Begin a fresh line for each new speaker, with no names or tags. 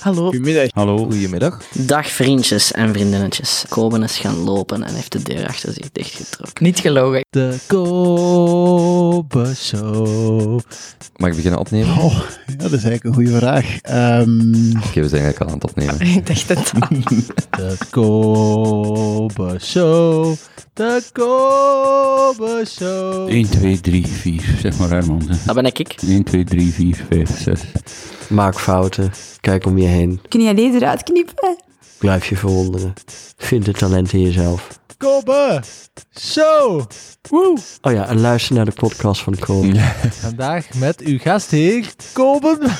Hallo.
Goedemiddag.
Hallo. Goedemiddag.
Dag vriendjes en vriendinnetjes. Koben is gaan lopen en heeft de deur achter zich dichtgetrokken.
Niet gelogen.
De Kobe Show.
Mag ik beginnen opnemen?
Oh, ja, dat is eigenlijk een goede vraag. Ehm,
Oké, we zijn eigenlijk al aan het opnemen.
Ik dacht het al.
De Kobe Show. De Kobe Show.
1, 2, 3, 4. Zeg maar Herman.
Dat ben ik. ik.
1, 2, 3, 4, 5, 6.
Maak fouten. Kijk om je heen.
Kun jij deze eruit knippen?
Blijf je verwonderen. Vind het talent in jezelf.
Kobe Show. Woe.
Oh ja, en luister naar de podcast van Kool.
Vandaag met uw gastheer Koben.